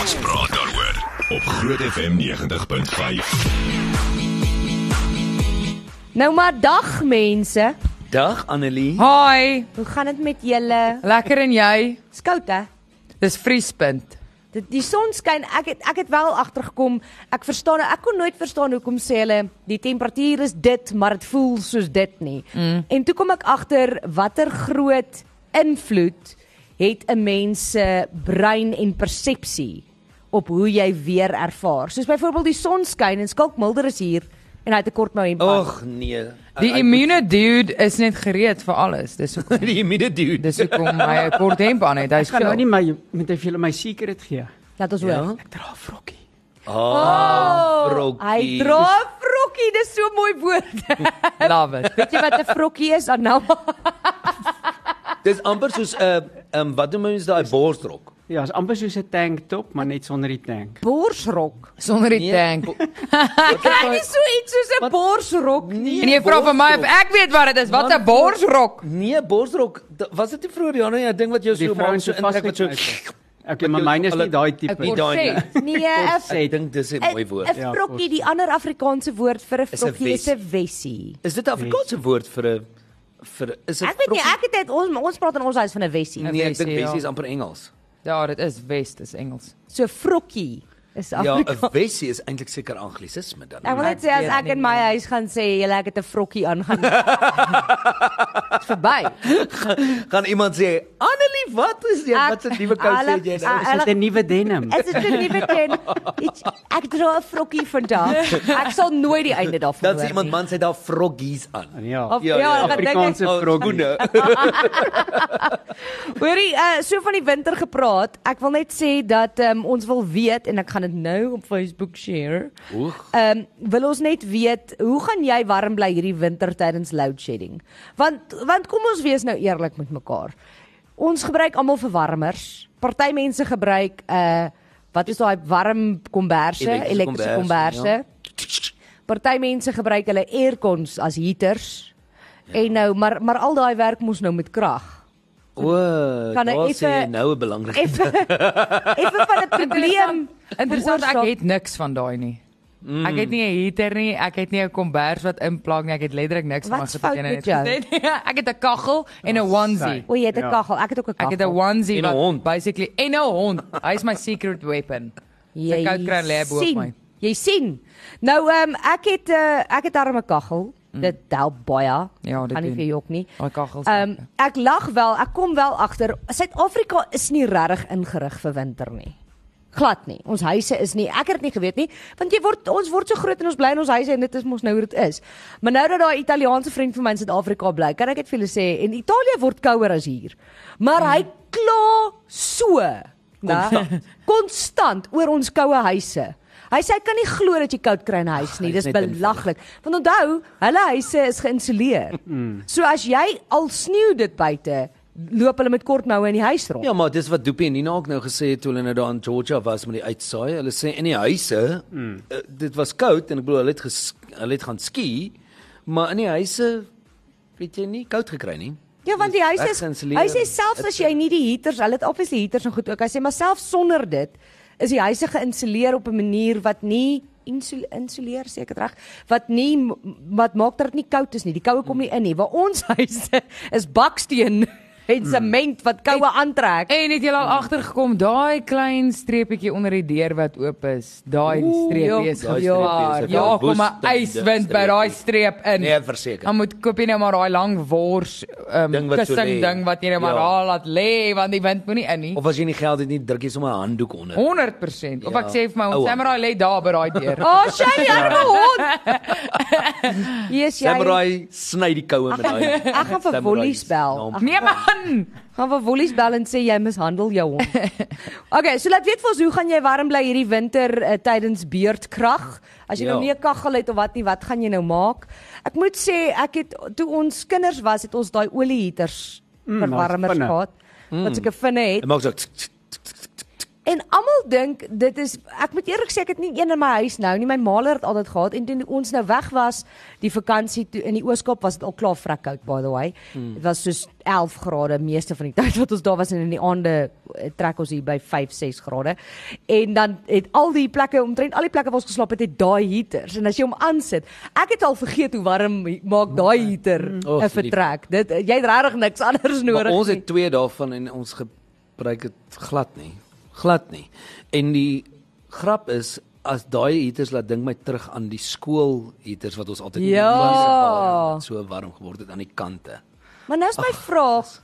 Ons praat daaroor op Groot FM 90.5. Nou maar dag mense. Dag Annelie. Hi, Hoe gaan dit met julle? lekker en jy? Skout hè? Dis vriespunt. Dit die son skyn. Ek het ek het wel agtergekom. Ek verstaan ek kon nooit verstaan hoekom sê hulle die temperatuur is dit, maar dit voel soos dit nie. Mm. En toe kom ek agter watter groot invloed het 'n mens se brein en persepsie op hoe jy weer ervaar. Soos byvoorbeeld die son skyn en skalk milder is hier en hy het 'n kort nou hemp aan. Och nee. Die immune dude is net gereed vir alles. Dis hoekom die immune dude. dis hoekom hy 'n kort hemp aan het. Hy's Kan nou nie gou. my met as julle my secret gee. Laat ons hoor. Ja. Ek dra 'n vrokkie. Oh, Hy Brokkie. dra 'n vrokkie, dis so 'n mooi woord. Love it. Weet jy wat 'n vrokkie is? Anelma. Dis amper soos 'n uh, um, wat noem mens daai borsrok? Ja, is amper soos 'n tank top, maar net sonder die tank. borsrok. Sonder die tank. Nee, bo- Jy kry nie so iets soos 'n Wat? borsrok nie. Nee, En jy vra vir my of borsrok. ek weet wat dit is. Wat Man, 'n borsrok. Nee, borsrok. da- Was dit nie vroeër jare nie 'n ding wat jou Die so maak vrouens so so intrek wat so vasgeknyp. Okay, maar myne is nie daai Ek tipe. nie word daai nie. nie. sê. Nee, 'n Kort v- sê. Ek dink dis 'n mooi 'n woord. Ja, vrokkie, die ander Afrikaanse woord vir 'n Is 'n vrokkie is wes. 'n wessie. Is dit 'n Afrikaanse woord vir 'n vir is dit Ek weet nie, ek het dit ons ons praat in ons huis van 'n wessie. Nee. Nee, ek dink Wessie, ja. Wessie is amper Engels. Ja, dit is West, dis Engels. So vrokkie is Ja, Afrikaans. 'n Wessie is eintlik seker Anglisisme dan. Ek wil net sê as weet ek nie in my huis gaan sê julle ek het 'n vrokkie aangaan. Dit's verby. Gaan iemand sê, "Annelie, wat is jy? Ek- Ja, Wat 'n nuwe kouse Alle- het jy nou?" a- Dis net 'n nuwe denim. Is dit 'n nuwe ding? Iets- Ek dra 'n vrokkie vandag. Ek sal nooit die einde daarvan Dan hoor sê iemand nie. man sê daar froggies aan. Ja. Of, Ja, ja, ja, ja, ja, Afrikaanse vrokkie. Hoorie, uh, so van die winter gepraat. Ek wil net sê dat um, ons wil weet en ek gaan dit nou op Facebook share. Oeg. Ehm um, wil ons net weet, hoe gaan jy warm bly hierdie winter tydens load shedding? Want want kom ons wees nou eerlik met mekaar. Ons gebruik almal verwarmers. Party mense gebruik 'n uh, wat is daai warm komberse, Elektriese elektriese komberse, komberse. Party mense gebruik hulle aircons as heaters. En nou maar maar al daai werk moes nou met krag. O, Kan kan hy ek effe- sê jy nou 'n belangrike effe effe van 'n probleem. Interessant, ek veroorsaak. het niks van daai nie. Mm. Ek het nie 'n heater nie, ek het nie 'n kombers wat inplak nie, ek het letterlik niks van Wat's gesit fout en met net jou? gesê. Nee, Ek het 'n kaggel en 'n onesie. O, jy het 'n Ja. kaggel. Ek het ook 'n Ek kaggel. het 'n onesie En 'n hond. wat basically en 'n hond. Hy's my secret weapon. Sy koud kry lê bo op sien. my. Jy sien. Nou ehm um, ek het 'n uh, ek het darm 'n kaggel. Dit help baie. Mm. Ja, dit kan nie doen. vir jok nie. Daai kaggels. Ehm um, ek lag wel, ek kom wel agter. Suid-Afrika is nie regtig ingerig vir winter nie. Glad nie. Ons huise is nie. Ek het dit nie geweet nie, want jy word ons word so groot en ons bly in ons huise en dit is mos nou hoe dit is. Maar nou dat daai Italiaanse vriend van my in Suid-Afrika bly, kan ek dit vir julle sê en Italië word kouer as hier. Maar hy kla so na konstant oor ons koue huise. Hy sê hy kan nie glo dat jy koud kry in 'n huis nie. hy is Dis net in- belag maklik. Want onthou, hulle huise is geïnsuleer. Mm. So as jy al sneeu dit buite, loop hulle met kort moue in die huis rond. Ja, maar dis wat Doopie en Nina ook nou gesê het toe hulle nou daar in Georgia was met die uitsaai. Hulle sê in die huise, mm. uh, dit was koud en ek bedoel hulle het ges, hulle het gaan ski, maar in die huise weet jy nie koud gekry nie. Ja, want die huise is Weggeïnstalleer. hy sê selfs as jy nie die heaters, hulle het obviously heaters en goed ook. Hy sê maar selfs sonder dit is die huise geïnsuleer op 'n manier wat nie insul- insuleer seker reg wat nie m- wat maak dat dit nie koud is nie. Die koue kom nie in nie. Waar ons huise is baksteen en sement wat koue aantrek. En het julle al agtergekom daai klein streepietjie onder die deur wat oop is? Daai joh. streep is ja, Daai streepie is gevaar. een Ja, kom 'n woeste yswind by streepie. daai streep in. Nee, verseker. Dan moet koop jy nou maar daai lang wors um, Ding wat so kussing lê. ding wat jy nou maar Ja. daar laat lê want die wind moenie in nie. Of as jy nie geld het nie, druk jy sommer 'n handdoek onder. 100%. Of Ja. ek sê vir my Ou ons samurai lê daar by daai deur. O, oh, sy arme hond. Yes, jy. Samurai sny die koue met daai. Ek gaan vir Samurai Wollies bel. naam. Ag, Nee man. Gaan vir Wollies bel en sê jy mishandel jou hond. Okay, so laat weet vir ons hoe gaan jy warm bly hierdie winter uh, tydens beurtkrag? As jy Ja. nou nie 'n kaggel het of wat nie, wat gaan jy nou maak? Ek moet sê ek het toe ons kinders was, het ons daai olieheaters Mm, verwarmers daar's vinne. Mm. gehad. Wat seker vinne het. Dit maak so. tsk, tsk, tsk, tsk, tsk, tsk. En almal dink dit is ek moet eerlik sê ek het nie een in my huis nou nie. My maaler het altyd gehad en toe ons nou weg was die vakansie toe in die Ooskaap was dit al klaar vrek koud by the way. Dit Hmm. was soos 11 grade meeste van die tyd wat ons daar was en in die aande eh, trek ons hier by 5, 6 grade. En dan het al die plekke omtrent al die plekke waar ons geslaap het het daai heaters en as jy hom aansit, ek het al vergeet hoe warm maak daai heater 'n Oh, lief. vertrek. Dit jy het regtig niks anders nodig. Maar ons nie. het twee daarvan en ons gebruik dit glad nie. Glad nie. En die grap is as daai heaters laat dink my terug aan die skool heaters wat ons altyd in die Ja. klas gehad het, wat so warm geword het aan die kante. Maar nou is my vraag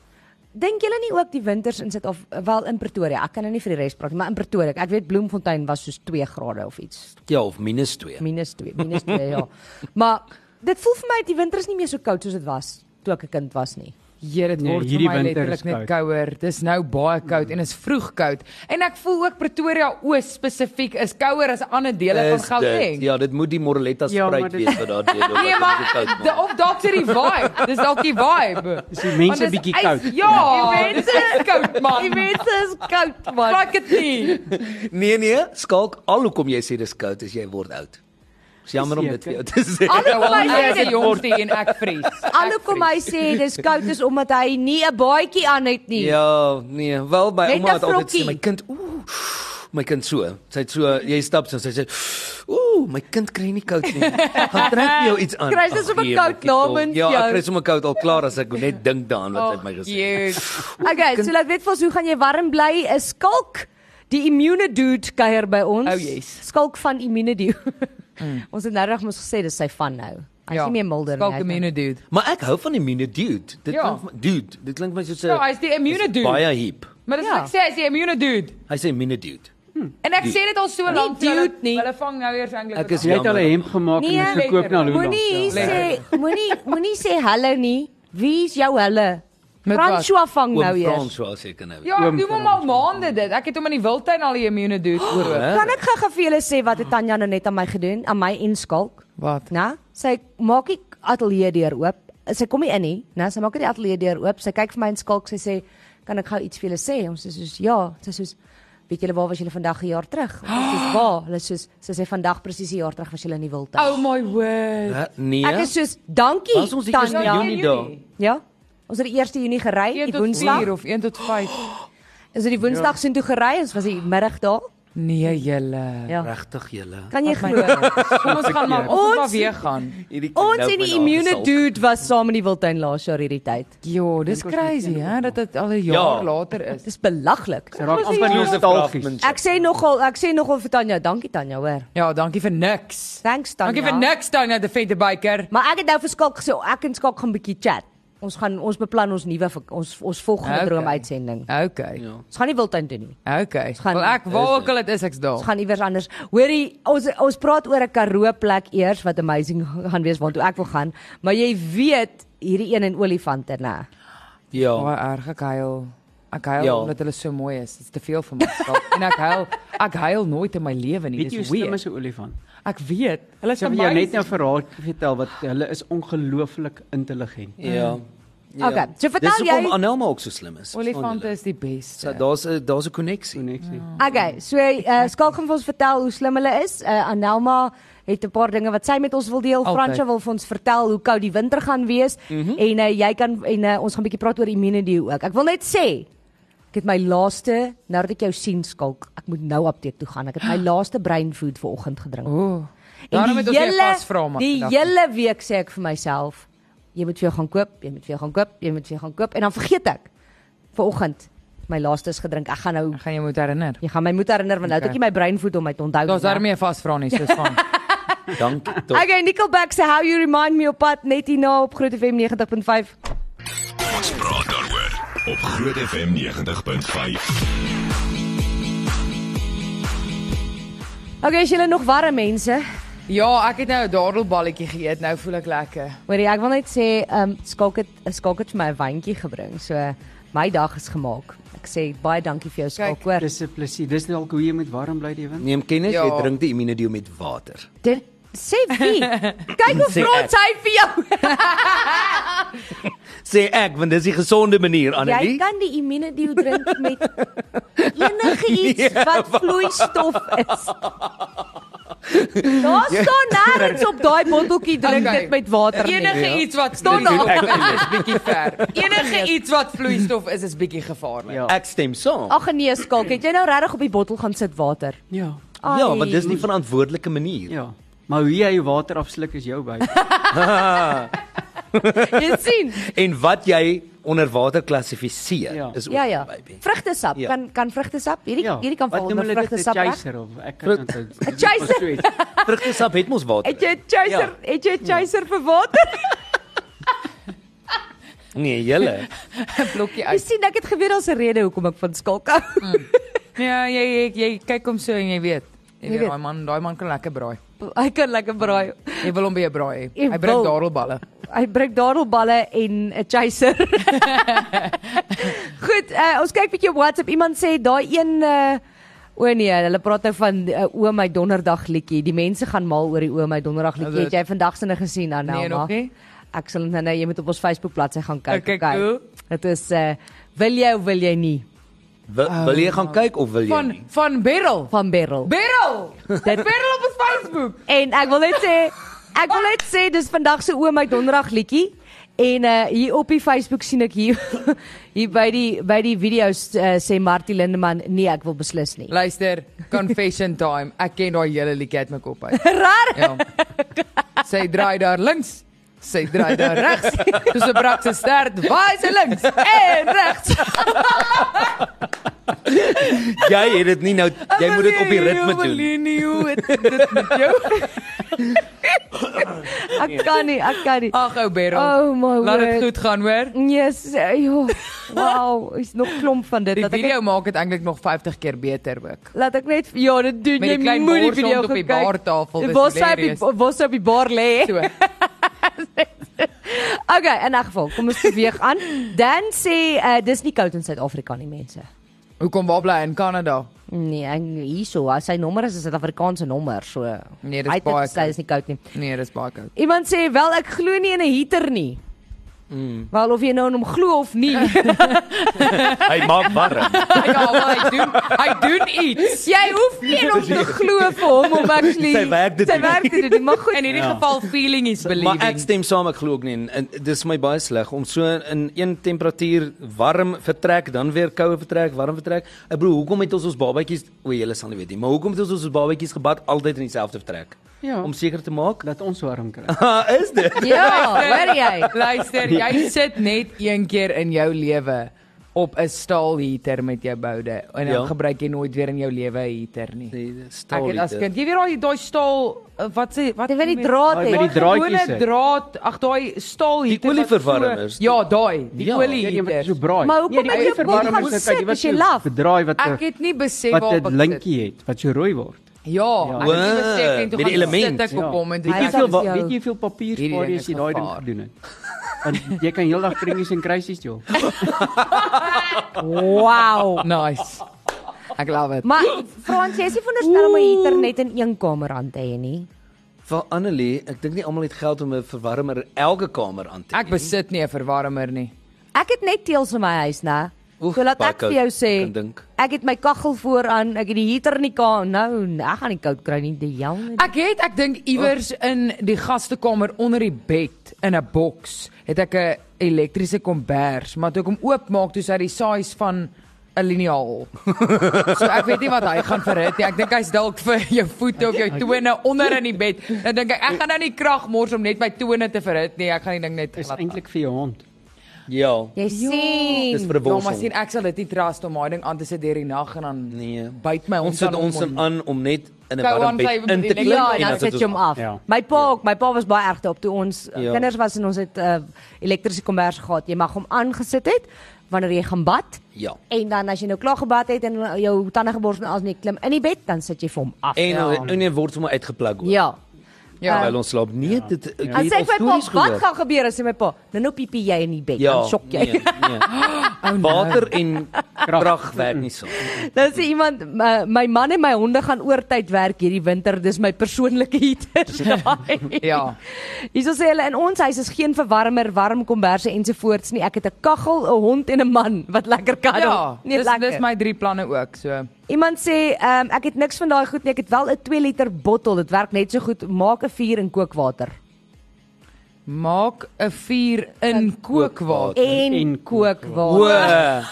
Dink julle nie ook die winters in Suid-Afrika wel in Pretoria? Ek kan nou nie vir die res praat nie, maar in Pretoria. Ek weet Bloemfontein was soos 2 grade of iets. Ja, of minus 2. Minus 2, minus 2 ja. Maar dit voel vir my die winter is nie meer so koud soos dit was toe ek 'n kind was nie. Hier dit Nee, word vir hierdie my winter is letterlik net koud. kouer. Dis nou baie koud en is vroeg koud. En ek voel ook Pretoria Oos spesifiek is kouer as ander dele van Is dit- Gauteng. Ja, dit moet die Moreletta Ja, maar spruit dit- wees wat daar deur loop. Nee, maar de, of dalk is dit die vibe. Dis dalk die vibe. Is die Want mense dis bietjie ys- koud? Ja, die mense is koud Die man. mense is koud man. Like dit nie. Nee nee, skalk al hoekom jy sê dis koud as jy word oud. Dis jammer om dit vir jou te sê. Al Nou, hoekom hy hy sê is die dit, jongste en ek vries. al hoekom hy sê dis koud is omdat hy nie 'n baadjie aan het nie. Ja, nee, wel my Net ouma het een altyd vrokkie. gesê my kind, ooh, my kind so. Sy het so, jy stap so en sy sê, ooh, my kind kry nie koud nie. Gaan trek vir jou iets aan. Kry sy Ag, sommer nee, koud my kind, oh, namens Ja, jou. ek kry sommer koud al klaar as ek net dink daaraan Oh, wat sy Ag, my gesê het. cute. Okay, so laat weet vir ons hoe gaan jy warm bly? Is Skalk die immune dude kuier by ons? Oh, yes. Skalk van immune dude. Mm. ons het nou reg mos gesê dis sy van nou. Ja. Hy's nie meer milder Skalk immune hy dude. Maar ek hou van immune dude. Dit Ja. klink vir my- dude, dit klink my soos 'n Ja, hy's die immune is dude. Baie hip. Maar dis Ja. wat ek sê, hy's die immune dude. Hy sê immune dude. En ek sê dit al so lank dude hulle- nie. Hulle vang nou eers eintlik. Ek is Jy het al 'n hemp gemaak Nee, en dit verkoop na lekker. Lula. Moenie Ja. sê moenie moenie sê hallo nie. Wie is jou hulle? Met wat? François vang nou Oom eers. Frans was ek nou. Ja, ek doen hom al maande dit. Ek het hom in die wildtuin al die immune dude oor. Kan ek gou-gou vir julle sê wat het Tanya nou net aan my gedoen, aan my en Skalk? Wat? Né? Sy maak die ateljee deur oop. Sy kom nie in nie, né? Sy maak net die ateljee deur oop. Sy kyk vir my en skalk. Sy sê, "Kan ek gou iets vir julle sê?" Ons is soos, "Ja." Sy soos, "Weet julle waar was julle vandag 'n jaar terug?" Ons is soos, "Waar?" Hulle soos, sy sê, "Vandag presies 'n jaar terug was julle in die wildtuin." Oh my word. Hæ? Nee. Ek is soos, "Dankie." Was ons die eerste Tanya." Junie daar? Ja. Ons het die 1 Junie gery, 1 die tot 4 Woensdag. of 1 tot 5. Ons het die Woensdag sin toe gery. Ons was die middag daar. Nee julle. Ja. regtig julle. Kan jy My glo? God. Kom ons gaan maar ons moet maar Ons- weer gaan. Hierdie kind Ons nou en my die naam immune gesalk. dude was saam in die wildtuin laas jaar hierdie tyd. Jo, dis crazy hè dat dit al 'n Ja. jaar later is. Dis belaglik. Dit raak Ons is amper hier. nostalgies. Ek sê nogal, ek sê nogal vir Tanya, dankie Tanya, hoor. Ja, dankie vir niks. Thanks Tanya. Dankie vir niks dan nou die Fender Biker. Maar ek het nou vir Skalk gesê, ek en Skalk gaan 'n bietjie chat. Ons gaan ons beplan ons nuwe vak- ons ons volgende Okay. okay. droomuitsending. Okay. Ons gaan nie wildtuin doen nie. Okay. gaan- Wel ek wou ook al dit is ek's daar. Ons gaan iewers anders. Hoorie, ons ons praat oor 'n Karoo plek eers wat amazing gaan wees waartoe ek wil gaan, maar jy weet hierdie een in olifante, né? Ja. Baie erg ek huil. Ek huil Ja. omdat hulle so mooi is. Dit's te veel vir my. Skalk. en ek huil. Ek huil nooit in my lewe nie. Weet jy hoe Dis slim weird. is 'n olifant? Ek weet. Hulle is Sy wil jou net nou amazing. verraai vertel wat hulle is ongelooflik intelligent. Ja. Okay, so vertel Dis hoekom jy- Anelma ook so slim is. Olifante is die So beste. daar's 'n daar's 'n koneksie. Koneksie. Ah, Okay, so uh, Skalk gaan vir ons vertel hoe slim hulle is. Uh, Anelma het 'n paar dinge wat sy met ons wil deel. Altyd. Fransja wil vir ons vertel hoe koud die winter gaan wees mm Mhm. -hmm. en uh, jy kan en uh, ons gaan 'n bietjie praat oor immunity ook. Ek wil net sê ek het my laaste nou dat ek jou sien Skalk, ek moet nou apteek toe gaan. Ek het my laaste brain food vanoggend gedrink. Ah. Ooh. En Daarom die het ons weer hele- vas vra maar. Die vandag. hele week sê ek vir myself, jy moet vir jou gaan koop, jy moet vir jou gaan koop, jy moet vir jou gaan koop en dan vergeet ek. Vanoggend my laaste is gedrink. Ek gaan nou Ek gaan jou moet herinner. Jy gaan my moet herinner want nou het Okay. ek nie my brein voed om my te onthou Daar's nie. daarmee 'n vasvra nie, soos van. Dankie tot. Okay, Nickelback se How You Remind Me op pad net hierna op Groot FM 90.5. Ons praat daaroor op Groot FM 90.5. Okay, is julle nog warm mense? Ja, ek het nou 'n dadelballetjie geëet. Nou voel ek lekker. Hoorie, ek wil net sê, ehm um, Skalk het Skalk het vir my 'n wyntjie gebring. So my dag is gemaak. Ek sê baie dankie vir jou Skalk, Kyk, hoor. Dis 'n plesier. Dis dalk hoe jy moet warm bly die wind. Neem kennis, ja. Ja. jy drink die immunideo met water. Dit sê wie? Kyk hoe Sê vrot ek. hy vir jou. sê ek want dis die gesonde manier Jy Annelie. kan die immunodeodorant met enige iets wat vloeistof is. Daar staan nêrens op daai botteltjie drink Okay. dit met water nie. Enige iets wat Staan vloeistof daar. is, is bietjie ver. Enige iets wat vloeistof is, is bietjie gevaarlik. Ja. Ek stem saam. Ag nee, skalk, het jy nou regtig op die bottel gaan sit water? Ja. Ai. Ja, want dis die verantwoordelike manier. Ja. Maar hoe jy jou water afsluk is jou by. Jy sien. En wat jy onder water klassifiseer Ja. is ook Ja ja. baby. Vrugtesap. Ja. Kan kan vrugtesap? Hierdie Ja. hierdie kan Wat val noem onder hulle dit? 'n vrugtesap. reg? Chaser of ek kan dit. dit is chaser. maar so iets. Vrugtesap het mos water. Het jy 'n chaser? Het jy 'n chaser vir water? Nee, julle. 'n Blokkie Jy uit. sien ek het geweet daar's 'n rede hoekom ek van skalk hou. Ja, jy jy, jy kyk hom so en jy weet. Jy Jy weet weet. daai man, daai man kan lekker braai. Hy kan lekker braai. Jy wil hom by jou braai. hê. Jy Hy bring wil. dadelballe. Hy breek dadelballe en 'n chaser. Goed, uh, ons kyk bietjie op WhatsApp. Iemand sê daai een uh, o nee, hulle praat nou van uh, o my donderdag liedjie. Die mense gaan mal oor die o my donderdag liedjie. Is dit- Het jy vandag sinne gesien dan nou? Nee, nog nie. Ek sal nou nou jy moet op ons Facebook bladsy gaan kyk. Okay, cool. Dit is uh, wil jy of wil jy nie Wil, wil jy Ah. gaan kyk of wil jy Van nie? van Beryl. van Beryl. Beryl. Dit- Beryl op ons Facebook. En ek wil net sê, ek wil net sê dis vandag se oom uit donderdag liedjie. En uh hier op die Facebook sien ek hier hier by die by die video's uh, sê Martie Lindeman nee, ek wil beslis nie. Luister, confession time. Ek ken daai hele liedjie uit my kop uit. Raar. Ja. Sy draai daar links. Sy draai daar regs. Dis 'n brakse stert. Waar is hy links? En regs. Jy het dit nie nou jy moet dit op die ritme doen. doen. Dit met jou. Ek kan nie, ek kan nie. Ag ou Beryl. Oh my Laat dit word. goed gaan hoor. Yes, jo. Wow, is nog klomp van dit Die dat ek video maak dit eintlik nog 50 keer beter ook. laat ek net ja, dit doen Met die jy klein moet die borsond video op die gaan kyk. baartafel, dis Waar sy op die hilarious. waar sy op die bar lê. So. Okay, in 'n geval, kom ons beweeg aan. Dan sê uh, dis nie koud in Suid-Afrika nie, mense. Hoekom waar bly hy in Kanada? Nee, en hierso, as sy nommer is is 'n Afrikaanse nommer, so. Nee, dis Hy het baie gesê koud. dis nie koud nie. Nee, dis baie koud. Iemand sê wel ek glo nie in 'n heater nie. Mm. Wel of jy nou in hom glo of nie, Hy maak warm. Hy gaan Ja, hy doen. Hy doen iets. jy hoef nie in hom te glo vir hom om actually Sy werk dit sy doen. werk dit doen, maar goed. In hierdie Ja. geval feeling is maar ek believing. stem saam, ek glo ook nie en, en dis my baie sleg om so in een temperatuur warm vertrek, dan weer koue vertrek, warm vertrek. Ek bedoel, hoekom het ons ons babatjies, o, julle sal nie weet nie, maar hoekom het ons ons babatjies gebad altyd in dieselfde vertrek? Ja. Om seker te maak dat Dat ons warm kry. is dit. Ja, hoor jy? Luister, jy sit net een keer in jou lewe op 'n staalheater met jou boude en dan ja. Ja. gebruik jy nooit weer in jou lewe 'n heater nie. Nee, Ek het as kind, jy weet daai daai staal eh, wat sê wat Jy wil die met- draad hê. Met die draadjies gewone het. draad, ag daai staalheater. Die wat olieverwarmers. so- Ja, daai, die Ja. Ja, die een wat olieheater. so braai. Nee, Maar hoekom die het jy ou op die verwarming gang sit uit, die wat gesit as jy so lag? Bedraai wat er- Ek het nie besef wat waar 'n linkie het wat so rooi word. Ja, ek Ja. het nie besef nie, toe Met die gaan ek element, sit ek op ja. hom en toe Hy kyk Weet jy is ek veel wa- jou- weet jy hoeveel papier Hierdie spaar ding jy is as jy daai ding gevaar. gedoen het? Want jy kan heeldag kringies en kruisies jol. Wow. nice. Ek love it. Maar Frans, jy is nie veronderstel om 'n heater net in een kamer aan te hê nie. vir Annelie, ek dink nie almal het geld om 'n verwarmer in elke kamer aan te Ek besit nie 'n verwarmer nie. Ek het net teels in my huis, né? Oef, So laat baie ek vir koud, jou sê, ek kan dink. ek het my kaggel vooraan, ek het die heater in die kamer. Nou, ek gaan nie koud kry nie, die jong. Ek het ek dink iewers Oh. in die gastekamer onder die bed in 'n boks het ek 'n elektriese kombers, maar toe ek hom oopmaak, toe is hy die size van 'n liniaal. so ek weet nie wat hy gaan verhit nie. Ek dink hy's dalk vir jou voete of jou tone onder in die bed. Dan dink ek ek gaan nou nie krag mors om net my tone te verhit nie. Ek gaan die ding net Is laat. eintlik vir jou hond. Ja. Jy Dis sien. Ja, maar verbossing. sien ek sal dit nie trust om my ding aan te sit deur die nag en dan Nee. byt my Ons sit dan ons om- hom aan om net in 'n Kou aan warm sy- bed in te die- klim Ja, en klink dan as sit dit jy hom ons- af. Ja. My pa ook, my pa was baie erg daarop toe ons uh, Ja. kinders was en ons het 'n uh, elektriese kombers gehad. Jy mag hom aangesit het wanneer jy gaan bad. Ja. En dan as jy nou klaar gebad het en jou tande gebors en as nie klim in die bed, dan sit jy vir hom af. En Ja. en en word sommer uitgepluk. hoor. Ja. Ja. Terwyl ons slaap. Nee, dit ek As het jy al vir my stories pa wat gehoor. gaan nou gebeur as jy my pa, dan nou piepie jy in die bed, Ja. Oh, dan sjok jy. Nee, nee. Water en Krag werk nie saam. Dan Nou sê iemand my, my man en my honde gaan oortyd werk hierdie winter. Dis my persoonlike heater. Ja. Hierso sê hulle in ons huis is geen verwarmer, warm komberse ensovoorts nie. Ek het 'n kaggel, 'n hond en 'n man wat lekker kan. Ja, nee, dis lekker. dis my drie planne ook, so. Iemand sê, ehm ek het niks van daai goed nie. Ek het wel 'n 2 liter bottel. Dit werk net so goed. Maak 'n vuur in kookwater. Maak 'n vuur in kookwater. En, en O. kookwater. Oh, eh.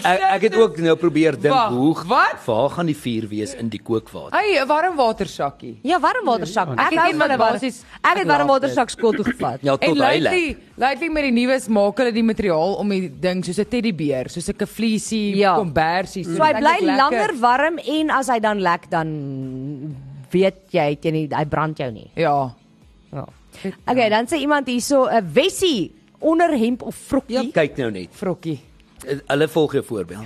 Ek ek het ook nou probeer dink Wag, hoe wat? waar gaan die vuur wees in die kookwater? Hey, 'n warm watersakkie. Ja, warmwatersak. Ek het hou een van wat 'n warm. basies- Ek ek het laat warmwatersak skool toe gevat. Ja, En tot hy lê. lately, lately met die nuus maak hulle die materiaal om die ding soos 'n teddybeer, soos 'n Ja. kefliesie, ja. kombersie. So hy bly langer warm en as hy dan lek dan weet jy teen die- hy brand jou nie. Ja. Ja. Okay, dan sê iemand hierso 'n Wessie onderhemp of Ja, vrokkie. kyk nou net. Eh, Frokkie. Hulle volg jou voorbeeld.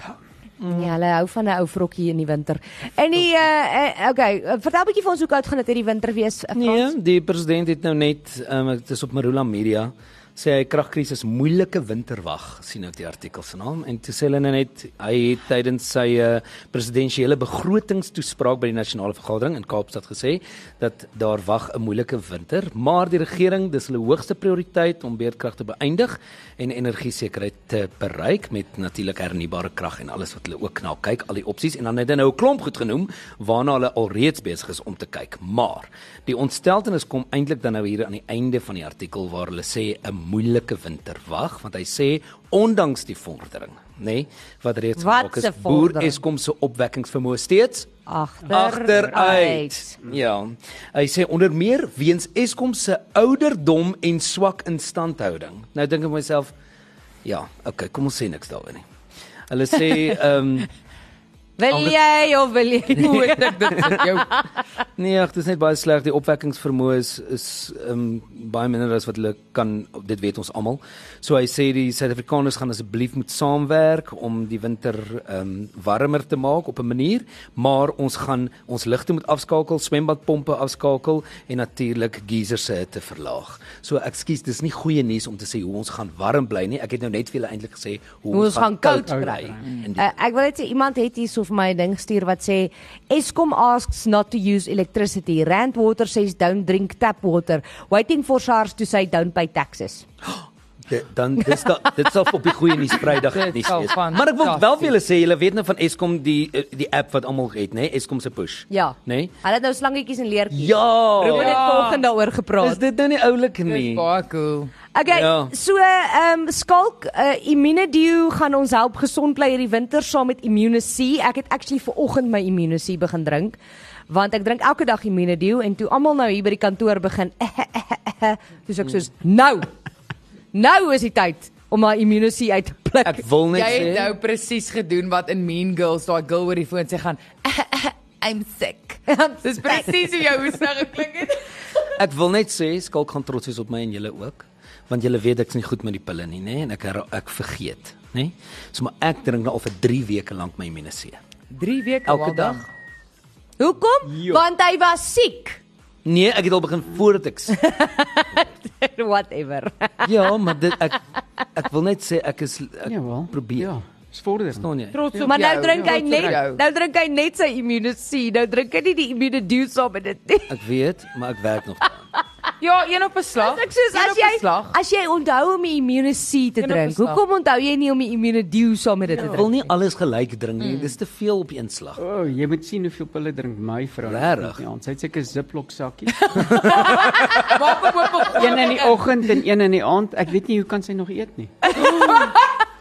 Ja, hulle hou van 'n ou vrokkie in die winter. En die uh, uh, okay, eh, vertel 'n bietjie vir ons hoe koud gaan dit hierdie winter wees? eh, Frans? Nee, die president het nou net ehm um, dit is op Marula Media sê hy kragkrisis moeilike winterwag sien ek die artikel se naam en toe sê hulle nou net hy het tydens sy uh, presidensiële begrotingstoespraak by die nasionale vergadering in Kaapstad gesê dat daar wag 'n moeilike winter maar die regering dis hulle hoogste prioriteit om beurtkrag te beëindig en energiesekerheid te bereik met natuurlik hernubare krag en alles wat hulle ook na kyk al die opsies en dan het hy nou 'n klomp goed genoem waarna hulle alreeds besig is om te kyk maar die ontsteltenis kom eintlik dan nou hier aan die einde van die artikel waar hulle sê 'n moeilike winter wag want hy sê ondanks die vordering nê nee, wat reeds Wat gemaak is se boer vordering? Eskom se opwekkingsvermoë steeds Agter- agteruit. Agteruit. Ja. Hy sê onder meer weens Eskom se ouderdom en swak instandhouding. Nou dink ek myself, ja, okay, kom ons sê niks daaroor nie. Hulle sê ehm um, Wil jy of wil jy? nie? Hoe het ek dit met jou? nee, ag, dit is net baie sleg. Die opwekkingsvermoë is is ehm um, baie minder as wat hulle kan dit weet ons almal. So hy sê die Suid-Afrikaners gaan asseblief moet saamwerk om die winter ehm um, warmer te maak op 'n manier, maar ons gaan ons ligte moet afskakel, swembadpompe afskakel en natuurlik geysers se hitte verlaag. So ekskuus, dis nie goeie nuus om te sê hoe ons gaan warm bly nie. Ek het nou net vir julle eintlik gesê hoe, Hoe ons gaan koud bly. kry. In die Uh, ek wil net sê iemand het hierso vir my 'n ding gestuur wat sê Eskom asks not to use electricity. Rand Water says don't drink tap water. Waiting for SARS to say don't pay taxes. Dit- dan dis da, dit sal op die goeie nuus Vrydag Dit nuus sal wees. Maar ek wil fantasties. wel vir julle sê, julle weet nou van Eskom die eh, die app wat almal het, nê? Nee? Eskom se push. Ja. Nê? Nee? Hulle het nou slangetjies en leertjies. Ruben Ja. het volgende daaroor Is gepraat. dit nou nie oulik nie? Dis baie cool. Okay, Ja. so ehm um, skalk uh, Immunedio gaan ons help gesond bly hierdie winter saam met Immunesie. Ek het actually ver oggend my Immunesie begin drink want ek drink elke dag Immunedio en toe almal nou hier by die kantoor begin eh, dis ek soos nou. Nou is die tyd om my Immunesie uit te pluk. Ek wil net Jy het sê nou presies gedoen wat in Mean Girls daai girl oor die foon sê gaan I'm sick. Dis presies hoe jou hoes nou geklink het. ek wil net sê Skalk gaan trots wees op my en julle ook, want julle weet ek's nie goed met die pille nie, nê? Nee? En ek her- ek vergeet, nê? Nee? So maar ek drink nou al vir 3 weke lank my Immuno C. 3 weke Elke dag. Hoekom? Want hy was siek. Nee, ek het al begin voordat ek s- Whatever. Ja, maar dit ek ek wil net sê ek is ek nee, Jawel. probeer. Ja, is vordering. Staan jy? Trots op Maar nou jou. Ja, drink hy Trots op net jou. nou drink hy net sy Immunesie. Nou drink hy nie die Immunedio saam met dit nie. Ek weet, maar ek werk nog daaraan. Ja, een op 'n slag. Ek soos Een as op 'n jy slag. as jy onthou om die immunesie te Een op drink. die slag. Hoekom onthou jy nie om die immunedio saam met dit Ja. te Ek wil drink? nie alles gelyk drink nie. Mm. Dis te veel op een slag. O, oh, jy moet sien hoeveel pille drink my vrou. Regtig? Ja, sy het seker 'n Ziploc sakkie. Maak hom oop op een in die oggend en een in die aand. Ek weet nie hoe kan sy nog eet nie.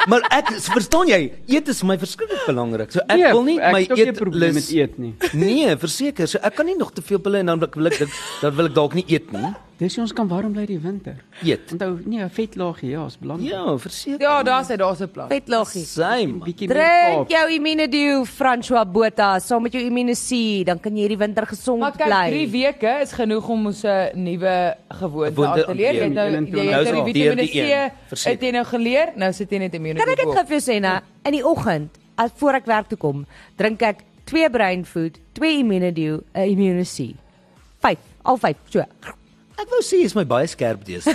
Maar ek verstaan jy, eet is vir my verskriklik belangrik. So ek wil nie my Nee, ek het ook nie 'n probleem met eetlus eet nie. Nee, verseker. So ek kan nie nog te veel pille en dan wil ek dit dan wil ek dalk nie eet nie. Dis hoe ons kan warm bly die winter. Eet. Onthou, nee, 'n vetlaagie, ja, is belangrik. Ja, verseker. Ja, daar's hy, daar's 'n plan. Vet loggie. Sy man. bietjie meer Drink ja, kaap. jou immunedio François Botha saam met jou immunesie, dan kan jy hierdie winter Maar gesond kyk, bly. 3 weke is genoeg om ons 'n nuwe gewoonte Gewoonte aan te leer. Jy aan het te nou leer. jy het nou die Deur Vitamiene die een, C verseker. het jy nou geleer. Nou sit jy net immunity. Kan ek dit op. gou vir jou sê na in die oggend, as voor ek werk toe kom, drink ek 2 brain food, 2 immunedio, 'n immunesie. 5, al 5. So. Ek wou sê jy's my baie skerp dees.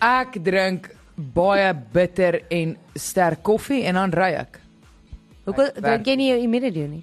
Ek drink baie bitter en sterk koffie en dan ry ek. Hoekom drink jy nie jou Iminidio nie?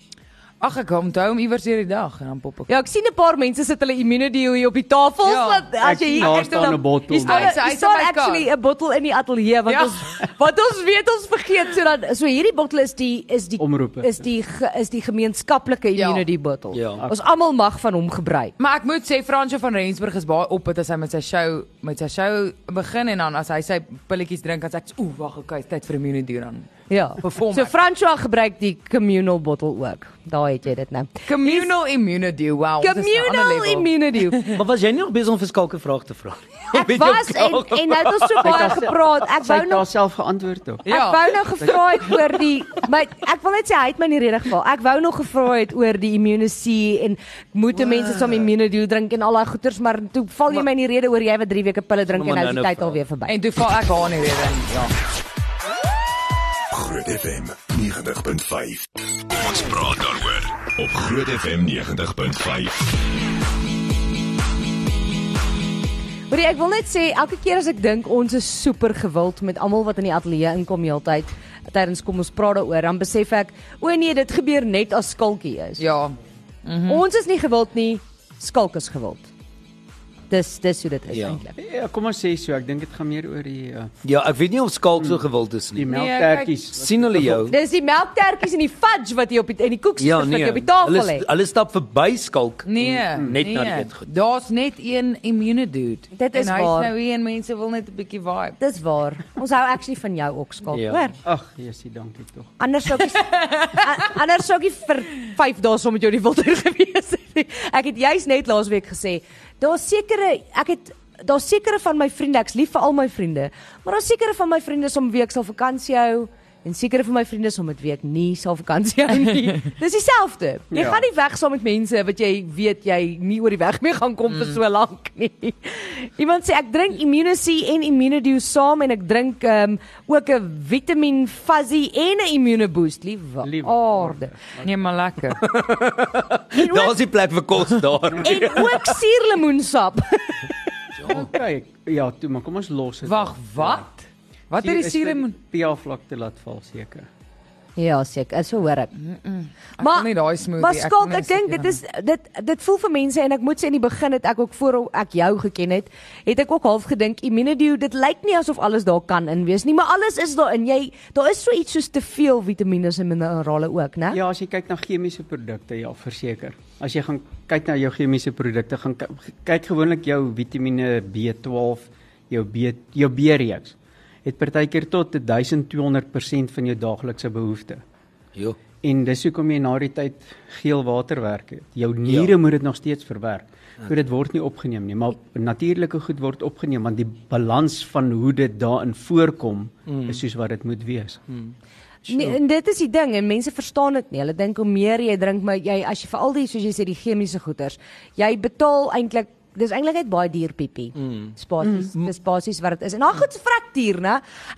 Ag ek onthou hom iewers hierdie dag en dan pop ek. Ja, ek sien 'n paar mense sit hulle Iminidio hier op die tafel ja, Ja, as jy ek- hier daar kyk, staan dan- 'n bottel. Hier staan, Hy is- hy hy is aan staan my actually 'n bottel in die ateljee wat Ja. ons wat ons weet ons vergeet so dat so hierdie bottel is die is die Omroepe. is die ge- is die gemeenskaplike Ja. Iminidio bottel. Ja. Ons almal mag van hom gebruik. Maar ek moet sê Fransjo van Rensburg is baie op dit as hy met sy show met sy show begin en dan as hy sy pilletjies drink dan sê ek ooh wag okay, is tyd vir 'n minuut duur dan. Ja. Perform So ek. François gebruik die communal bottel ook. Daar het jy dit nou. Communal immunity. Wow. dit is 'n ander Communal level. Iminidio. Maar was jy nie nog besig om vir skalke vrae te vra? Ek was en en nou het ons so baie gepraat. Ek Sy wou het nog haarself geantwoord tog. Ek Ja. wou nou gevra het oor die my ek wil net sê hy het my nie rede geval. Ek wou nog gevra het oor die immunisie en moet wow. mense saam immunity drink en al daai goeters, maar toe val jy my in die rede oor jy wat 3 weke pille drink en nou Maar nou is nou die tyd vra. alweer verby. En toe val ek haar nie weer in. Ja. Groot FM 90.5. Kom ons praat daaroor op Groot FM 90.5. Maar ek wil net sê elke keer as ek dink ons is super gewild met almal wat in die ateljee inkom heeltyd tydens kom ons praat daaroor, dan besef ek o nee, dit gebeur net as skalkie is. Ja. Mm -hmm. Ons is nie gewild nie, skalk is gewild. Dis dis hoe dit is ja. Ja. eintlik. Ja, kom ons sê so, ek dink dit gaan meer oor die uh, Ja, ek weet nie of skalk so gewild is Mm. die nie. melktertjies. sien hulle jou? Dis die melktertjies en die fudge wat jy op die, en die koekies Ja, wat nee. jy op die tafel Hulle lê. hulle stap verby skalk. Nee. Mm, Net nee. na die eetgoed. Daar's net een immunity dude. Dit is en hy's waar. nou hier en mense wil net 'n bietjie vibe. Dis waar. Ons hou actually van jou ook skaap, ja. Ja. hoor? Ag, Jesusie, dankie tog. Anders sou ek a- anders sou ek nie vir 5 dae saam met jou in die wilder gewees het. nie. Ek het juis net laasweek gesê, daar's sekere ek het daar's sekere van my vriende, ek's lief vir al my vriende, maar daar's sekere van my vriende som week sal vakansie hou en sekere van my vriende som dit week nie sal vakansie hou nie. Dis dieselfde. Jy ja. Ja. gaan nie weg saam met mense wat jy weet jy nie oor die weg mee gaan kom mm. vir so lank nie. Iemand sê ek drink Immunisy en Immunedew saam en ek drink ehm um, ook 'n Vitamin Fuzzy en 'n Immune Boost, liewe Liewe aarde. Nee, maar lekker. Nee, En ook, Daar's die plek vir kos daar. en ook suurlemoensap. Okay, ja, toe maar kom ons los dit. Wag, wat? Wat het die serum? pH vlak te laat val seker. ja, seker, so hoor ek. Ek wil nie daai smoothie. Maar ek ja. wil skalk, nie ek dink seker dit is dit dit voel vir mense en ek moet sê in die begin het ek ook voor ek jou geken het, het ek ook half gedink Immunedew, dit lyk nie asof alles daar kan in wees nie, maar alles is daarin. Jy daar is so iets soos te veel vitamiene en minerale ook, né? Ja, as jy kyk na chemiese produkte, ja, verseker. As jy gaan kyk na jou chemiese produkte, gaan ky- kyk gewoonlik jou Vitamiene B12, jou B jou B-reeks het partykeer tot 1200% van jou daaglikse behoeftes. Jo. En dis hoekom jy na die tyd geel water werk het. Jou niere ja. moet dit nog steeds verwerk. So dit word nie opgeneem nie, maar natuurlike goed word opgeneem want die balans van hoe dit daarin voorkom mm. is soos wat dit moet wees. Mm. Nee, en dit is die ding en mense verstaan dit nie. Hulle dink hoe meer jy drink, maar jy as jy veral die soos jy sê die chemiese goeders, jy betaal eintlik dis eintlik net baie duur piepie. Mm. Spasies, mm. dis basies wat dit is. En daai goed se vrek duur, né?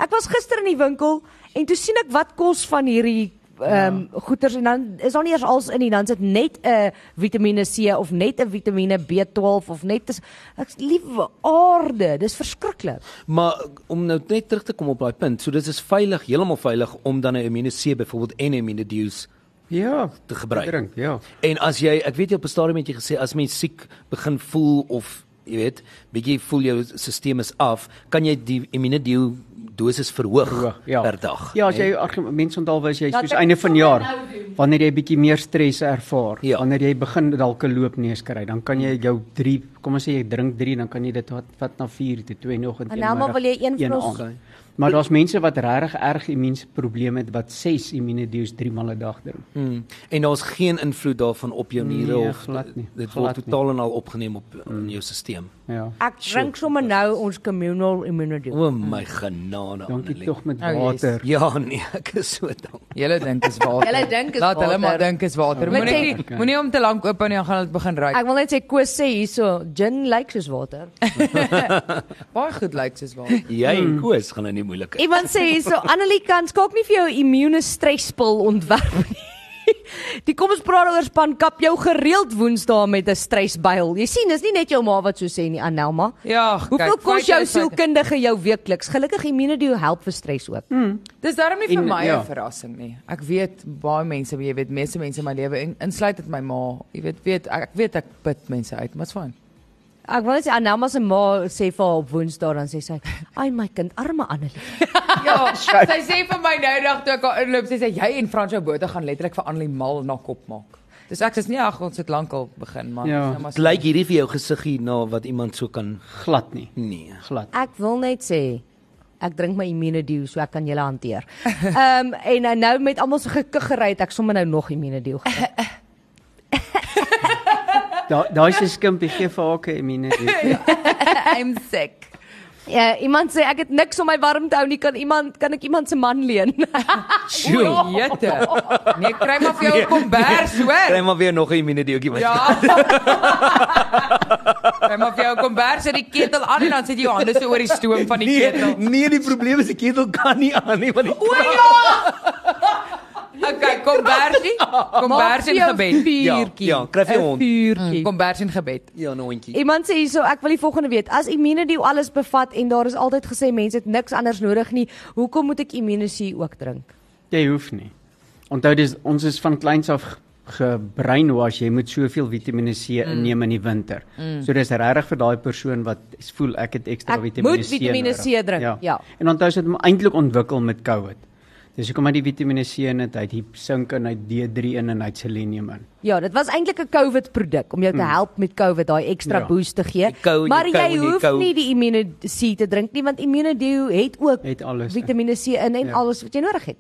Ek was gister in die winkel en toe sien ek wat kos van hierdie ehm um, goeders en dan is daar nie eers als in nie, dan sit net 'n Vitamiene C of net 'n Vitamiene B12 of net is ek liewe aarde, dis verskriklik. Maar om nou net terug te kom op daai punt, so dit is veilig, heeltemal veilig om dan 'n Immuno C byvoorbeeld en 'n Immuno Dews Ja, te gebruik. Drink, ja. En as jy, ek weet jy op 'n stadium het jy gesê as mens siek begin voel of jy weet, bietjie voel jou stelsel is af, kan jy die Immuno Dew dosis verhoog, Hoog, ja. per dag. Ja, as jy argument mense onthou was jy Laat soos ek einde dit van sommer jaar nou doen. wanneer jy bietjie meer stres ervaar, Ja. wanneer jy begin dalk 'n loopneus kry, dan kan jy jou 3, kom ons sê jy drink 3, dan kan jy dit wat wat na 4 toe 2 nog en En nou maar wil jy een een vlos- aand. Maar daar's mense wat regtig erg immuunprobleme het wat 6 immunedeus 3 maal 'n dag drink. Mm. En daar's geen invloed daarvan op jou niere Nee, of glad nie, dit glad word nie. Hmm. totaal en al opgeneem op mm. jou stelsel. Ja. Ek drink sommer nou ons communal immunity. O my genade. Hmm. Dankie Annelie. tog met Oh, yes. water. Ja nee, ek is so dankbaar. Julle dink is water. Julle dink is Laat Laat hulle water. maar dink is water. Moet Moenie sê- okay. moenie hom te lank oop en dan gaan dit begin ruik. Ek wil net sê Koos sê hierso gin lyk soos water. Baie goed lyk soos water. Hmm. Jy en Koos gaan nou nie moeilik. Iemand sê hierso Annelie kan skalk nie vir jou immuune stresspil ontwerp nie. Die kom ons praat oor span kap jou gereeld Woensdae met 'n stresbuil. Jy sien, dis nie net jou ma wat so sê nie, Anelma. Ja, Hoeveel kyk, kos feite jou is feite. sielkundige jou weekliks? Gelukkig Immunedio help vir stres ook. Dis daarom nie vir En, my 'n ja. verrassing nie. Ek weet baie mense, jy weet meeste mense in my lewe in- insluit dit my ma. Jy weet weet ek ek weet ek put mense uit, maar dit's fyn. Ek wil net sê Anelma se ma sê vir haar op Woensdae dan sê sy, "Ai my kind, arme Annelie." Ja, sy sê vir my nou dag toe ek haar inloop, sy sê jy en Franco Botha gaan letterlik vir Annelie mal na kop maak. Dis ek sê nee, ag ons het lankal begin, maar Ja. dis nou maar Dit lyk hierdie vir jou gesig hier na wat iemand so kan glad nie. nee. Glad. Ek wil net sê Ek drink my Immunedio so ek kan julle hanteer. Ehm um, en nou- nou met almal so gekiggery het ek sommer nou nog Immunedio gedrink. Da- Daai is 'n skimpie gee vir haar 'n minuut. I'm sick. Ja, iemand sê ek het niks om my warm te hou nie, kan iemand kan ek iemand se man leen? Sjoe. jette. Nee, kry maar vir jou 'n kombers, Kry hoor. maar weer nog 'n minuutjie my. Ja. Kry maar vir jou 'n kombers en die ketel aan en dan sit jy jou hande so oor die stoom van die ketel. Nee, nee, die probleem is die ketel kan nie aan nie want die O ja. Okay, Ja, kombersie. Kombersie in gebed. Vuurtjie. Mm. Ja, ja, kry vir jou 'n hond. Vuurtjie. Kombersie in gebed. ja, nou hondjie. Iemand sê hierso, ek wil die volgende weet. As Immunedio alles bevat en daar is altyd gesê mense het niks anders nodig nie, hoekom moet ek Immunesie ook drink? Jy hoef nie. Onthou dis ons is van kleins af ge- gebrainwash jy moet soveel Vitamiene C inneem in die winter. Mm. So dis regtig vir daai persoon wat s- voel ek het ekstra Ek Vitamiene C. moet Vitamiene C nodig. drink, ja. En onthou as dit hom eintlik ontwikkel met COVID. Dis hoekom hy die Vitamiene C in het, hy het die sink in, hy het D3 in en hy het selenium in. Ja, dit was eintlik 'n COVID produk om jou te help met COVID daai ekstra Ja. boost te gee. Die kou en maar die kou jy en die hoef kou. nie die Immunesie te drink nie want Immunedio het ook Het alles in. Vitamiene C in en alles wat jy nodig het.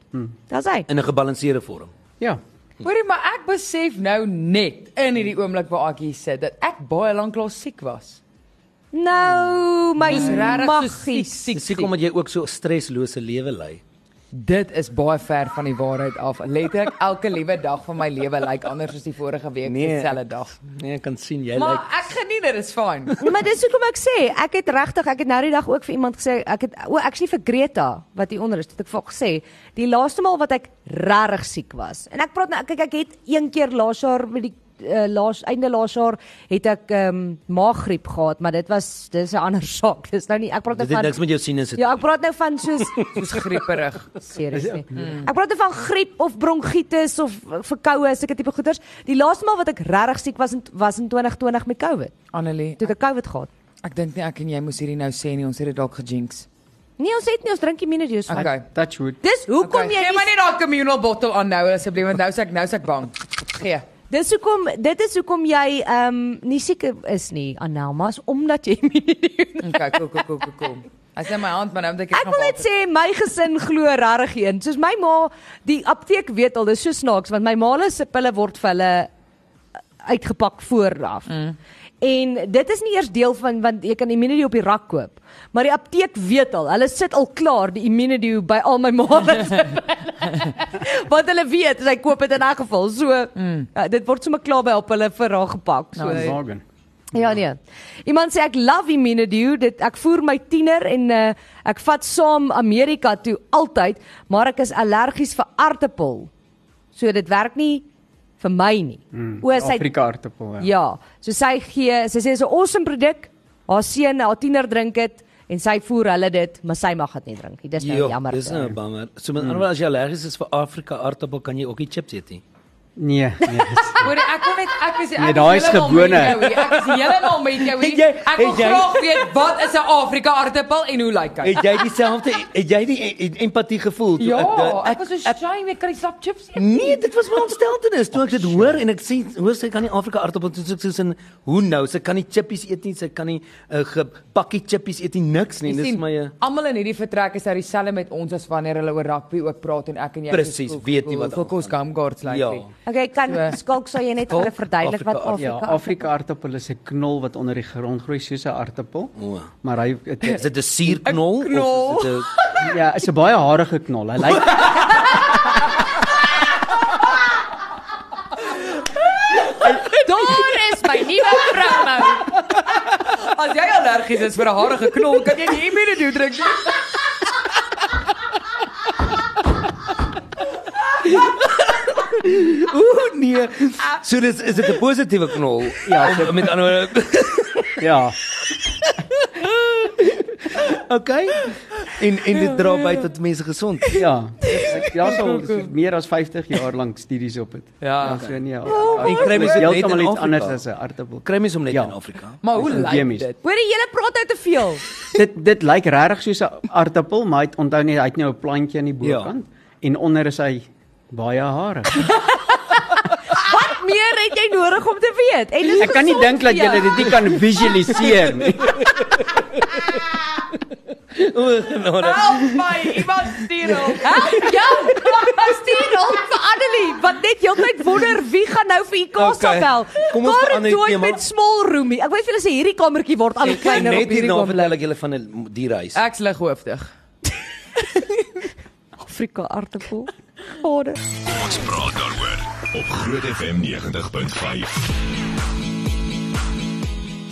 Daar's hy. In 'n gebalanseerde vorm. Ja. Hoorie, maar ek besef nou net in hierdie oomblik waar ek hier sit dat ek baie lank lank siek was. Nou, my Dis regtig so siek, maggies. siek, Dis siek. hoekom dat jy ook so 'n streslose lewe lei. Dit is baie ver van die waarheid af. Letterlik elke liewe dag van my lewe lyk like anders as die vorige week, Nee. dieselfde dag. Nee, ek kan sien jy Maar lyk ek geniet dit, is fyn. Nee, Maar dis hoekom ek sê, ek het regtig, ek het nou die dag ook vir iemand gesê, ek het o, ek's nie vir Greta wat hier onder is, dit het ek vir haar gesê, die laaste maal wat ek regtig siek was. En ek praat nou, kyk ek het een keer laas jaar met die uh, laas einde laas jaar het ek ehm um, maaggriep gehad, maar dit was dis 'n ander saak. Dis nou nie ek praat nou dit het van niks met jou sinusse te Ja, ek praat nou van soos Soos grieperig. Serieus nie. Ja. Ek praat nie van griep of bronkietes of eh, verkoue, sulke tipe goeters. Die laaste maal wat ek regtig siek was in, was in 2020 met COVID. Annelie, Toe ek ek COVID gehad. ek dink nie ek en jy moes hierdie nou sê nie, ons het dit dalk gejinx. Nee, ons het nie ons drink immunodeus van. Okay. Touch wood. Dis hoekom Okay, jy Gee my nie, net daai communal bottle aan nou asseblief want nou sê ek nou sê ek bang. Gee. dis hoekom dit is hoekom jy ehm um, nie siek is nie, Anelma, is omdat jy immunodeus. Okay, cool cool cool cool. cool. As jy my hand maar nou moet ek Ek wil net sê my gesin glo regtig een. Soos my ma, die apteek weet al, dis so snaaks want my ma se pille word vir hulle eh, uitgepak vooraf. Mm. En dit is nie eers deel van want jy kan Immunedio op die rak koop. Maar die apteek weet al, hulle sit al klaar die Immunedio by al my maas. Want hulle weet as hy koop dit in 'n geval. So mm. Nou, uh, dit word sommer klaar by op hulle vir haar gepak. So Van Wagen. Ja nee. Iemand sê ek love Immunedio, dit ek voer my tiener en uh, ek vat saam Amerika toe altyd, maar ek is allergies vir aartappel. So dit werk nie vir my nie. Mm, O, sy Afrika aartappel. Ja. ja, so sy gee, sy sê dis 'n awesome produk. Haar seun, haar tiener drink dit en sy voer hulle dit, maar sy mag dit nie drink nie. Dis nou Jo, jammer. Dis nou 'n bummer. So met ander woorde as jy allergies is vir Afrika aartappel kan jy ook nie chips eet nie. Ja. Nee, nee. dis- Hoor ek kom net ek E is ek Nee, daai is heeltemal met gewone. jou hier. Ek is heeltemal met jou Het hier. jy- Ek wil het jy- graag weet wat is 'n Afrika aartappel en hoe lyk hy? Het jy dieselfde het jy die e- e- empatie gevoel toe Ja, dit- ek was so shy met kan ek slap chips eet. Nee, dit was my ontsteltenis toe ek Oh, dit hoor en ek sien hoor sy kan nie Afrika aartappel toe soek soos in hoe nou, sy kan nie chippies eet nie, sy kan nie 'n uh, pakkie chippies eet nie, niks nie. Jy Dis sien, my uh, almal in hierdie vertrek is nou dieselfde met ons as wanneer hulle oor rugby ook praat en ek en jy Presies, weet nie wat Hoeveel kos gum guards lyk Ja. nie. Okay, kan skalk sou jy net vir hulle verduidelik wat Afrika- Afrika Ja, Afrika aartappel is 'n knol wat onder die grond groei soos 'n aartappel. O. Maar hy het is dit 'n suurknol knol. of is dit 'n Ja, is 'n baie harige knol. Hy lyk Daar is my nuwe promo. As jy allergies is vir 'n harige knol, kan jy nie immunedoe drink nie. Ooh, nee. So dis is dit 'n positiewe knol. Ja, Om- met ander woorde. Ja. Okay. En en dit dra by tot mense gesond. Ja. Ek ja so meer as 50 jaar lank studies op dit. Ja, so nee. Ja. En kry mens dit net in heeltemal iets Afrika? anders as 'n aartappel. Kry mens hom net Ja. in Afrika. Maar hoe Dis lyk endemies. dit? Hoorie, julle praat nou te veel. dit dit lyk regtig soos 'n aartappel, maar hy het onthou net hy het nou 'n plantjie aan die Ja. bokant en onder is hy baie hare. Wat meer het jy nodig om te weet? En dis Ek kan nie gezond dink dat vir jou. jy dit nie kan visualiseer nie. O, genade. Help my, iemand stuur hom. Hæ? Ja, maar stuur hom vir Annelie, want net heeltyd wonder wie gaan nou vir Ikasa Okay, bel. kom ons Karen verander die Joy tema. met small roomie. Ek weet vir julle sê hierdie kamertjie word al hoe En kleiner net op hierdie hierna kamer. vertel ek julle van 'n dierhuis. Ek's lighoofdig. Afrika aartappel. Gade. Ons praat daaroor op Groot FM 90.5.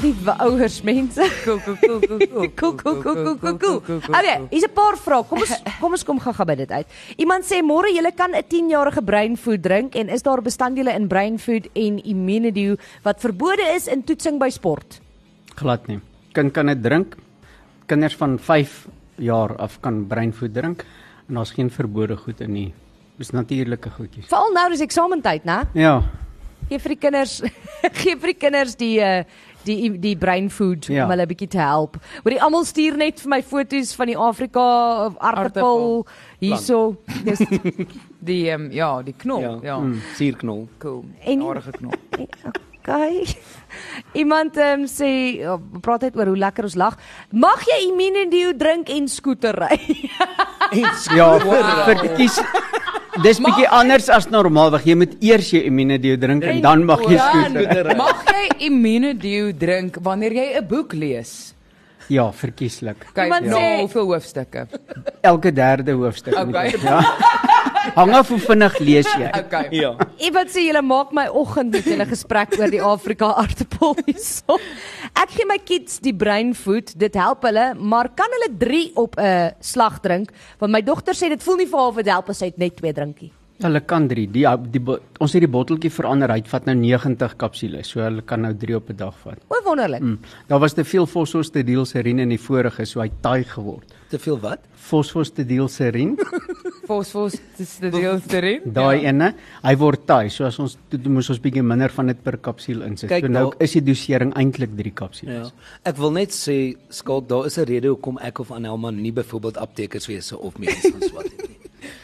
Die wa- ouers mense. Koek koek koek koek Cool, cool, cool, cool, cool, cool. Okay, hier's 'n paar vrae. Kom ons kom ons kom gaga by dit uit. Iemand sê môre jy kan 'n 10-jarige breinfood drink en is daar bestanddele in breinfood en immunedio wat verbode is in toetsing by sport? Glad nie. Kind kan dit drink. Kinders van 5 jaar af kan breinvoed drink en daar's geen verbode goed in nie. Dis natuurlike goedjies. Veral nou dis eksamentyd, né? Ja, Gee vir die kinders gee vir die kinders die eh, die die brain food Ja. om hulle 'n bietjie te help. Hoor die almal stuur net vir my foto's van die Afrika of aartappel Aartappel. hierso. Dis Die ehm ja, die knop, ja. ja. Mm. Suurknol. Cool. En- Aardige knop. okay. Iemand um, sê oh, praat net oor hoe lekker ons lag. Mag jy immunendio drink en skooter ry? ja, vir, vir kies Dis bietjie anders as normaalweg. Jy moet eers jou immunedio drink en dan mag jy skoot. Dan Mag jy Immunedio drink wanneer jy 'n boek lees? Ja, verkieslik. Kyk, Iemand ja. sê- na hoeveel hoofstukke. Elke derde hoofstuk. moet Okay. jy- Ja. Hang af hoe vinnig lees jy. Okay. Ja. Iemand sê julle maak my oggend met julle gesprek oor die Afrika aartappel hierso. Ek gee my kids die brain food, dit help hulle, maar kan hulle 3 op 'n slag drink? Want my dogter sê dit voel nie vir haar of dit help as sy het net 2 drinkie. Hulle kan 3. Die, ah, die bo- ons het die botteltjie verander. Hy vat nou 90 kapsules, so hulle kan nou 3 op 'n dag vat. O wonderlik. Mm. Daar was te veel fosfostedielserien in die vorige, so hy taai geword. Te veel wat? Fosfostedielserien, Fosfos dis die deel erin. daai ene, hy word taai. So as ons toe moes ons bietjie minder van dit per kapsule insit. Kyk So nou daar- is die dosering eintlik 3 Ja. kapsules. Ek wil net sê skalk daar is 'n rede hoekom ek of Anelma nie byvoorbeeld aptekerswese of medies gaan swat het nie.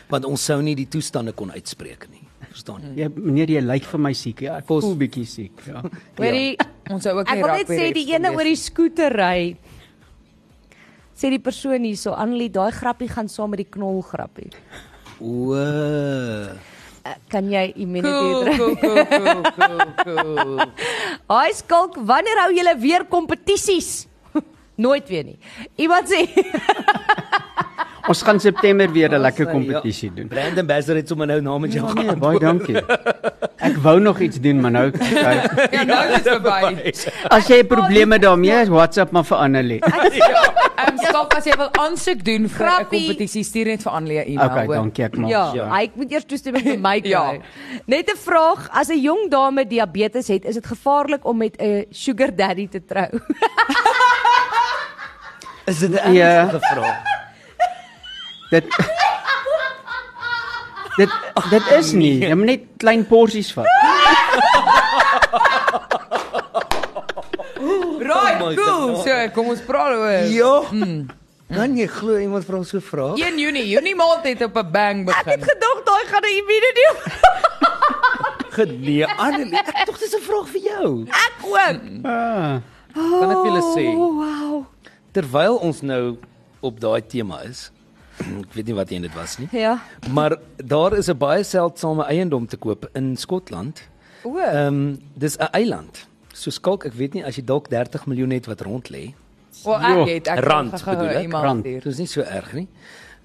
Want ons sou nie die toestande kon uitspreek nie. Verstaan jy? Ja, meneer, jy lyk vir my siek. Ja, ek Fos- voel bietjie siek, ja. Hoorie, Ons sou ook ek nie wil net rugby sê die reeks ene kon oor die lees. skooterry. Sê die persoon hierso, Annelie, daai grappie gaan saam met die knol grappie. O. eh. Uh, kan jy immunity Cool, drink? cool, cool, cool, cool, cool. Hi Skalk, wanneer hou julle weer kompetisies? Nooit weer nie. Iemand sê Ons gaan September weer 'n lekker Ja, kompetisie doen. Brandon Basser het sommer nou namens jou Ja, gaan. nee, baie dankie. Ek wou nog iets doen, maar nou Ja, nou is dit verby. Ja. as jy probleme daarmee het, WhatsApp maar vir Annelie. Ehm stop as jy wil aansoek doen vir 'n Grappie. kompetisie, stuur net vir Annelie 'n e-mail. Okay, hoor. dankie ek maak. ja, so. hy moet eers toestemming vir my kry. Ja. Net 'n vraag, as 'n jong dame diabetes het, is dit gevaarlik om met 'n sugar daddy te trou? Is dit 'n Ja. ernstige vraag? Dit Dit dit is nie. Jy moet net klein porsies vat. Right, Oh my cool. God. So, kom ons praat oor. Ja. Mm. Kan jy glo iemand vra so 'n vraag? 1 Junie, Junie maand het op 'n bang Ek het begin. gedog daai gaan 'n immunity. Genee, Annelie, ek dink dis 'n vraag vir jou. Ek ook. Ah, Kan ek vir julle sê? Oh, wow. Terwyl ons nou op daai tema is, hmm, ek weet nie wat een dit was nie. Ja. Maar daar is 'n baie seldsame eiendom te koop in Skotland. O. Ehm um, dis 'n eiland. So skalk, ek weet nie as jy dalk 30 miljoen het wat rond lê. Wel, ek het ek Rand gaan gou-gou bedoel ek, iemand rand. stuur. Dit is nie so erg nie.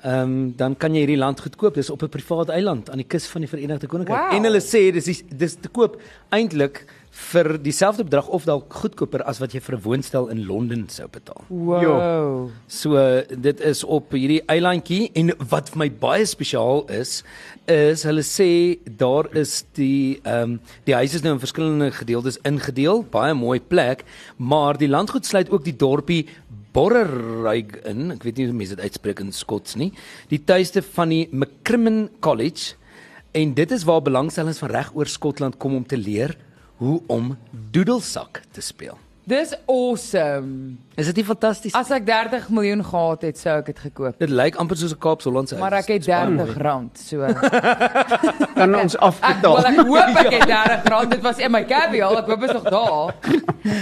Ehm um, dan kan jy hierdie land goedkoop. Dis op 'n privaat eiland aan die kus van die Verenigde Koninkryk. Wow. En hulle sê dis is- dis te koop eintlik vir dieselfde bedrag of dalk goedkoper as wat jy vir 'n woonstel in Londen sou betaal. Wow. Jo. So eh, dit is op hierdie eilandjie en wat vir my baie spesiaal is is hulle sê daar is die ehm die huise is nou in verskillende gedeeltes ingedeel, baie mooi plek, maar die landgoed sluit ook die dorpie Borrerig in. Ek weet nie hoe mense dit uitspreek in Skots nie. Die tuiste van die McCrimmon College en dit is waar belangstellings van reg oor Skotland kom om te leer hoe om doedelsak te speel. Dis awesome. Is dit nie fantasties? As ek 30 miljoen gehad het, sou ek dit gekoop. Dit lyk amper soos 'n Kaapse-Hollandse huis. Maar ek het Dis baie mooi. 30 rand, so. Ek Kan ons wil afbetaal. ek hoop ek het 30 rand. Dit was in my cavial. Ek hoop is nog daar.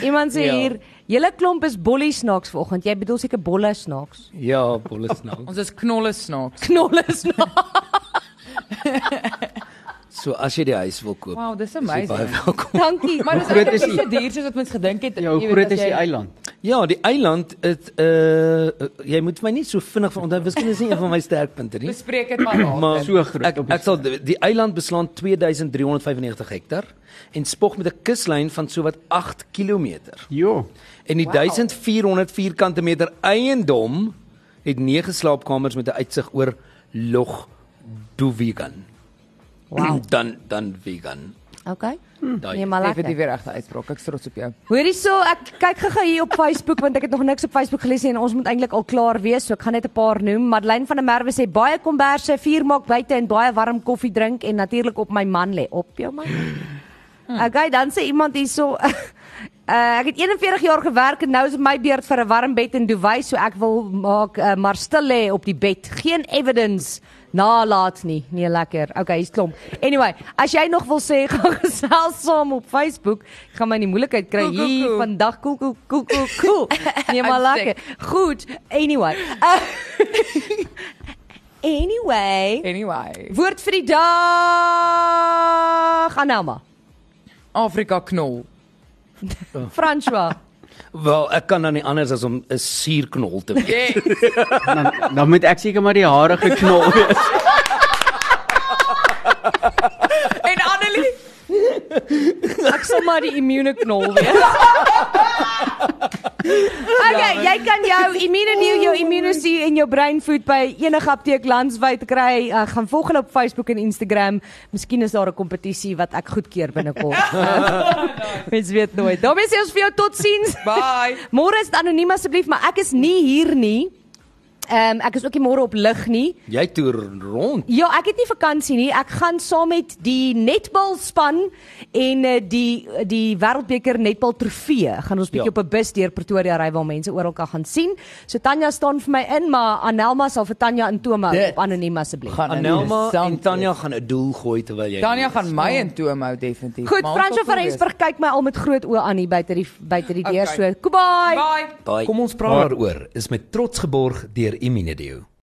Iemand sê Ja. hier, julle klomp is bollie snaaks vanoggend. Jy bedoel seker bolle snaaks. Ja, bolles nou. Ons is knolle snaaks. Knolle snaaks. So as jy die huis wil koop, Wow, is dis jy baie amazing. welkom. Dankie. Maar dis Hoe groot eintlik is nie so duur soos wat mens gedink het. Jou jy weet, groot as is die jy- eiland. Ja, die eiland, dit uh jy moet my nie so vinnig van onthou, wiskunde is nie een van my sterkpunte nie. Bespreek dit maar later. Maar So groot Ek, op die ek sal die eiland beslaan 2395 hektar en spog met 'n kuslyn van sowat 8 km. Jo. En die wow. 1400 vierkante meter eiendom het 9 slaapkamers met 'n uitsig oor Loch Duvigan. Wow. Dan dan vegan. Okay. Daai. Nee, maar Ek het dit lekker. weer regte uitspraak. Ek's trots op jou. Hoorie so, ek kyk gou-gou hier op Facebook want ek het nog niks op Facebook gelees nie en ons moet eintlik al klaar wees, so ek gaan net 'n paar noem. Madeleine van der Merwe sê baie komberse, vuur maak buite en baie warm koffie drink en natuurlik op my man lê, op jou man. Okay, dan sê iemand hierso Uh, ek het 41 jaar gewerk en nou is my beurt vir 'n warm bed en duvet, so ek wil maak uh, maar stil lê op die bed. Geen evidence nalaat nie. Nee, lekker. Okay, hier's klomp. Anyway, as jy nog wil sê, gaan gesels saam op Facebook. Ek gaan my in die moeilikheid kry Koel, koel, hier koel. vandag. Koel koel koel koel koel. Nee, maar I'm lekker. Goed. Anyway. Uh, anyway. Anyway. Woord vir die dag. Anelma. Afrika knol. François. Wel, ek kan dan nie anders as om 'n suurknol te wees. Yes. Dan dan moet ek seker maar die hare geknol wees. en Annelie Ek sal maar die immune knol wees. okay, jy kan jou immune new jou immunity en jou brain food by enige apteek landwyd kry. Uh, gaan volg hulle op Facebook en Instagram. Miskien is daar 'n kompetisie wat ek goedkeur binnekort. Mens weet nooit. Daarmee sê ons vir jou totsiens. Bye. Môre is dit anoniem asseblief, maar ek is nie hier nie. Ehm um, ek is ook nie môre op lig nie. Jy toer rond. Ja, ek het nie vakansie nie. Ek gaan saam met die netbal span en eh, die die Wêreldbeker netbal trofee. Gaan ons bietjie Ja. op 'n bus deur Pretoria ry waar mense oral kan gaan sien. So Tanja staan vir my in, maar Anelma sal vir Tanja en Toma Dit op anoniem asseblief. gaan Anelma en interessant Tanya wees. gaan 'n doel gooi terwyl jy Tanya gaan my in toom hou definitief. Goed, maar ons Fransjo sal van sien wees. Rensburg kyk my al met groot oë aan hier buite die buite die deur. Okay. So, goodbye. Bye. Kom ons praat daaroor. Is met trots geborg deur Immunedio.